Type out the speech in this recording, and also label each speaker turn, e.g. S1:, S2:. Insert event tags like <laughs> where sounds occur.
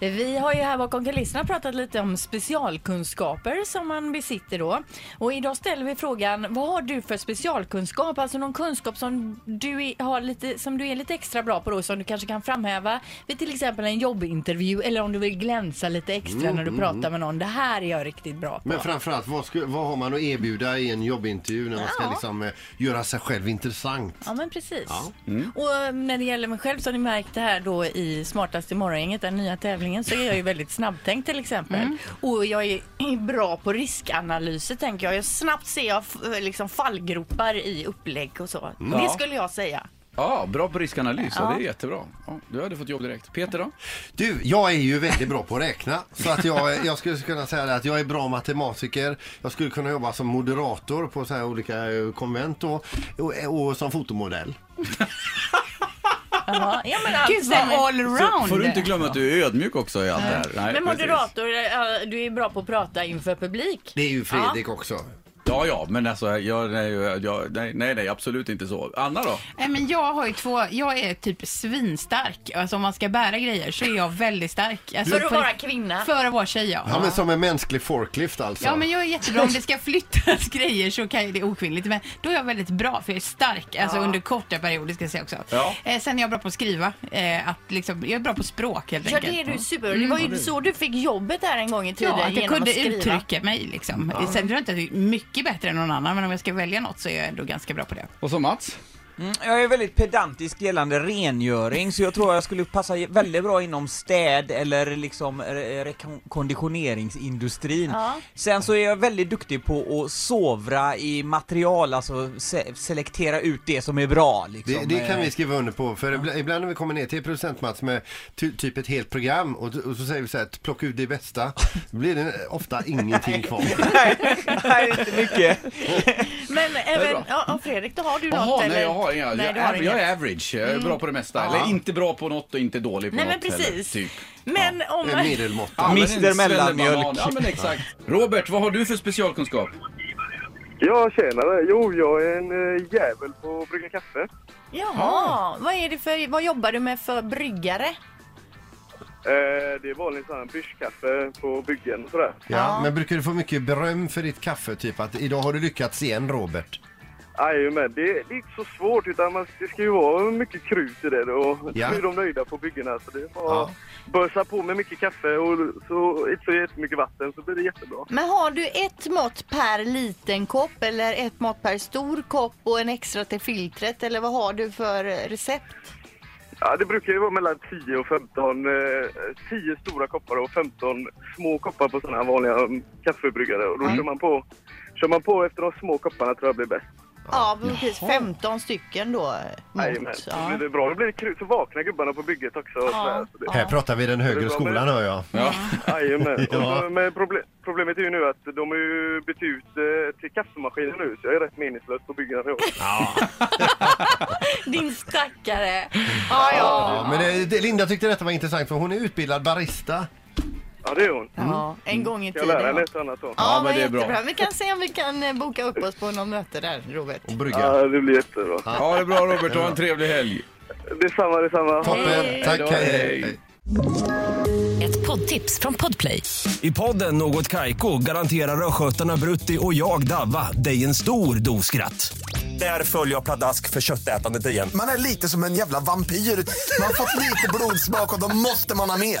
S1: Vi har ju här bakom kulisserna pratat lite om specialkunskaper som man besitter då. Och idag ställer vi frågan, vad har du för specialkunskap? Alltså någon kunskap som du i- har lite, som du är lite extra bra på då, som du kanske kan framhäva vid till exempel en jobbintervju eller om du vill glänsa lite extra när du pratar med någon. Det här är jag riktigt bra på.
S2: Men framförallt, vad, sku, vad har man att erbjuda i en jobbintervju när man ska
S1: Ja.
S2: liksom, eh, göra sig själv intressant?
S1: Ja men precis.
S2: Ja.
S3: Mm.
S1: Och eh, när det gäller mig själv så har ni märkt det här då i Smartast i morgongänget, den nya tävlingen, så är jag ju väldigt snabbtänkt till exempel.
S3: Mm.
S1: Och jag är är bra på riskanalyser tänker jag. jag snabbt ser jag f- liksom fallgropar i upplägg och så. Det
S4: Ja.
S1: skulle jag säga.
S4: Ja, bra på riskanalys. Ja.
S1: Ja.
S4: det är jättebra. Ja, du hade fått jobb direkt. Peter då?
S2: Du, jag är ju väldigt bra på att räkna. Så att jag, eh, jag skulle kunna säga det att jag är bra matematiker. Jag skulle kunna jobba som moderator på så här olika eh, konvent och, och, eh, och som fotomodell.
S1: Jaha. Ja, men allt
S3: Gud vad
S1: stämmer.
S3: allround!
S4: Får du inte glömma att du är ödmjuk också i allt det här. Nej,
S1: Men
S4: precis.
S1: moderator, eh, du är bra på att prata inför publik.
S2: Det är ju Fredrik också.
S4: Ja, ja, men alltså, jag, nej, jag, nej, nej, nej, absolut inte så. Anna då?
S3: Nej, men jag har ju två, jag är typ svinstark. Alltså om man ska bära grejer så är jag väldigt stark. Alltså,
S1: För att
S3: på-
S1: vara kvinna.
S3: För att vara tjej ja.
S2: Ja, men som en mänsklig forklift alltså.
S3: Ja men jag är jättebra, om det ska flyttas <laughs> grejer så kan ju det okvinnligt. Men då är jag väldigt bra för jag är stark, alltså under korta perioder ska jag säga också.
S4: Ja.
S3: Eh, sen är jag bra på att skriva, eh, att liksom, jag är bra på språk helt
S1: Ja,
S3: enkelt.
S1: det är du super. Det var ju så du fick jobbet här en gång i tiden
S3: Ja, att jag
S1: genom
S3: kunde
S1: att skriva.
S3: uttrycka mig liksom. Sen tror jag inte att jag är mycket bättre än någon annan, men om jag ska välja något så är jag ändå ganska bra på det.
S4: Och så Mats?
S5: Mm, jag är väldigt pedantisk gällande rengöring, så jag tror jag skulle passa väldigt bra inom städ eller liksom eh, rekonditioneringsindustrin.
S1: Ja.
S5: Sen så är jag väldigt duktig på att sovra i material, alltså se selektera ut det som är bra. Liksom.
S2: Det, det kan
S5: Eh,
S2: vi skriva under på. För ibla- ibland när vi kommer ner till producent Mats med ty, typ ett helt program och, och så säger vi så här, plocka ut det bästa. Då blir det ofta ingenting kvar.
S5: <laughs> Nej, nej, inte mycket.
S1: Men även,
S4: bra.
S1: ja, ja, Fredrik, då har du något
S4: Jaha,
S1: eller?
S4: nej jag har inga.
S1: Nej,
S4: jag,
S1: du
S4: är,
S1: har
S4: jag
S1: inget. Mm.
S4: är average. Jag är bra på det mesta. Eller inte bra på något och inte dålig på
S1: Nej, men
S4: något heller,
S1: precis.
S4: typ.
S1: Men om...
S2: Det är Eh, Medelmåtta.
S4: Ja, men en
S5: Mr. Mellanmjölk.
S4: svennebanan. Ja, men
S1: <laughs>
S4: exakt. Robert, vad har du för specialkunskap?
S6: Ja, tjenare. Jo, jag är en eh, jävel på att brygga kaffe.
S1: Jaha, vad, är det för, vad jobbar du med för bryggare?
S6: Eh, det är vanligt sån här byschkaffe på byggen och sådär.
S2: Ja, men brukar du få mycket beröm för ditt kaffe? Typ att idag har du lyckats igen Robert.
S6: Jajamän, det, det är inte så svårt utan man, det ska ju vara mycket krut i det och då
S2: Ja.
S6: är de nöjda på byggena. Så det är bara
S2: Ja.
S6: bösa på med mycket kaffe och så, inte så jättemycket vatten så blir det jättebra.
S1: Men har du ett mått per liten kopp eller ett mått per stor kopp och en extra till filtret eller vad har du för eh, recept?
S6: Ja, det brukar ju vara mellan 10 och 15, eh, 10 stora koppar och 15 små koppar på sådana här vanliga um, kaffebryggare och då
S2: Mm.
S6: kör man på. Kör man på efter de små kopparna tror jag blir bäst.
S1: Ja, precis. 15 stycken då. eh,
S6: Jajamän,
S1: Mot.
S6: då
S1: Ja.
S6: blir det bra. Då blir det krut. Så vaknar gubbarna på bygget också. Och sådär. Så det-
S2: Här pratar vi den högre skolan hör jag.
S4: Ja.
S6: Jajamän. Och
S2: Ja.
S6: så- Men proble- problemet är ju nu att de har ju bytt ut eh, till kaffemaskiner nu så jag är rätt meningslös på byggena i år.
S1: Din stackare. Ja, ja.
S2: Ja, men eh, det, Linda tyckte detta var intressant för hon är utbildad barista.
S6: Ja, det är hon. Mm. Ska
S1: ja en gång i
S6: jag
S1: tiden.
S6: lära henne
S1: Ja,
S6: ett annat då?
S4: Ja, men
S1: vad
S4: det är bra.
S1: jättebra. Vi kan se om vi kan eh, boka upp oss på något möte där, Robert.
S2: Och brygga.
S6: Ja, det blir jättebra.
S4: Ja, det är bra Robert. Ha en trevlig helg.
S6: Detsamma, detsamma.
S2: Toppen, tack.
S4: Hej då,
S2: hej.
S4: hej.
S7: Ett poddtips från Podplay.
S8: I podden Något Kaiko garanterar östgötarna Brutti och jag, Davva, dig en stor dos skratt. Där följer jag pladask för köttätandet igen.
S9: Man är lite som en jävla vampyr. Man har fått lite blodsmak och då måste man ha mer.